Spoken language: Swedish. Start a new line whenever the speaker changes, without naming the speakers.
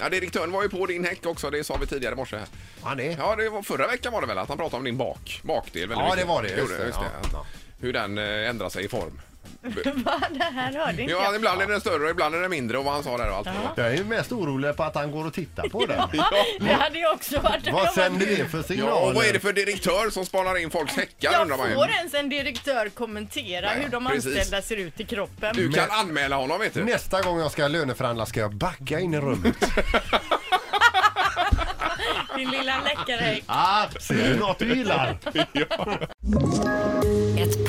Ja, direktören var ju på din häck också, det sa vi tidigare i morse. här.
Han är.
Ja, det var förra veckan var det väl att han pratade om din bak, bakdel väldigt
Ja,
mycket.
det var det, just
Gjorde
det, ja,
att- Hur den eh, ändrar sig i form.
Va? Det här hörde inte
Ja,
jag.
ibland är den större och ibland är den mindre och vad han sa där och allt.
Ja.
Jag är ju mest orolig på att han går och tittar på den.
Det hade jag också varit. Jag
Vad
bara,
sänder det för signaler?
Ja, och vad är det för direktör som spanar in folks häckar undrar man
Jag får
ju.
ens en direktör kommentera
Nej,
hur de
precis.
anställda ser ut i kroppen.
Du kan anmäla honom vet du.
Nästa gång jag ska löneförhandla ska jag backa in i rummet.
Din lilla läckare.
ah, ser du något du gillar?
Ett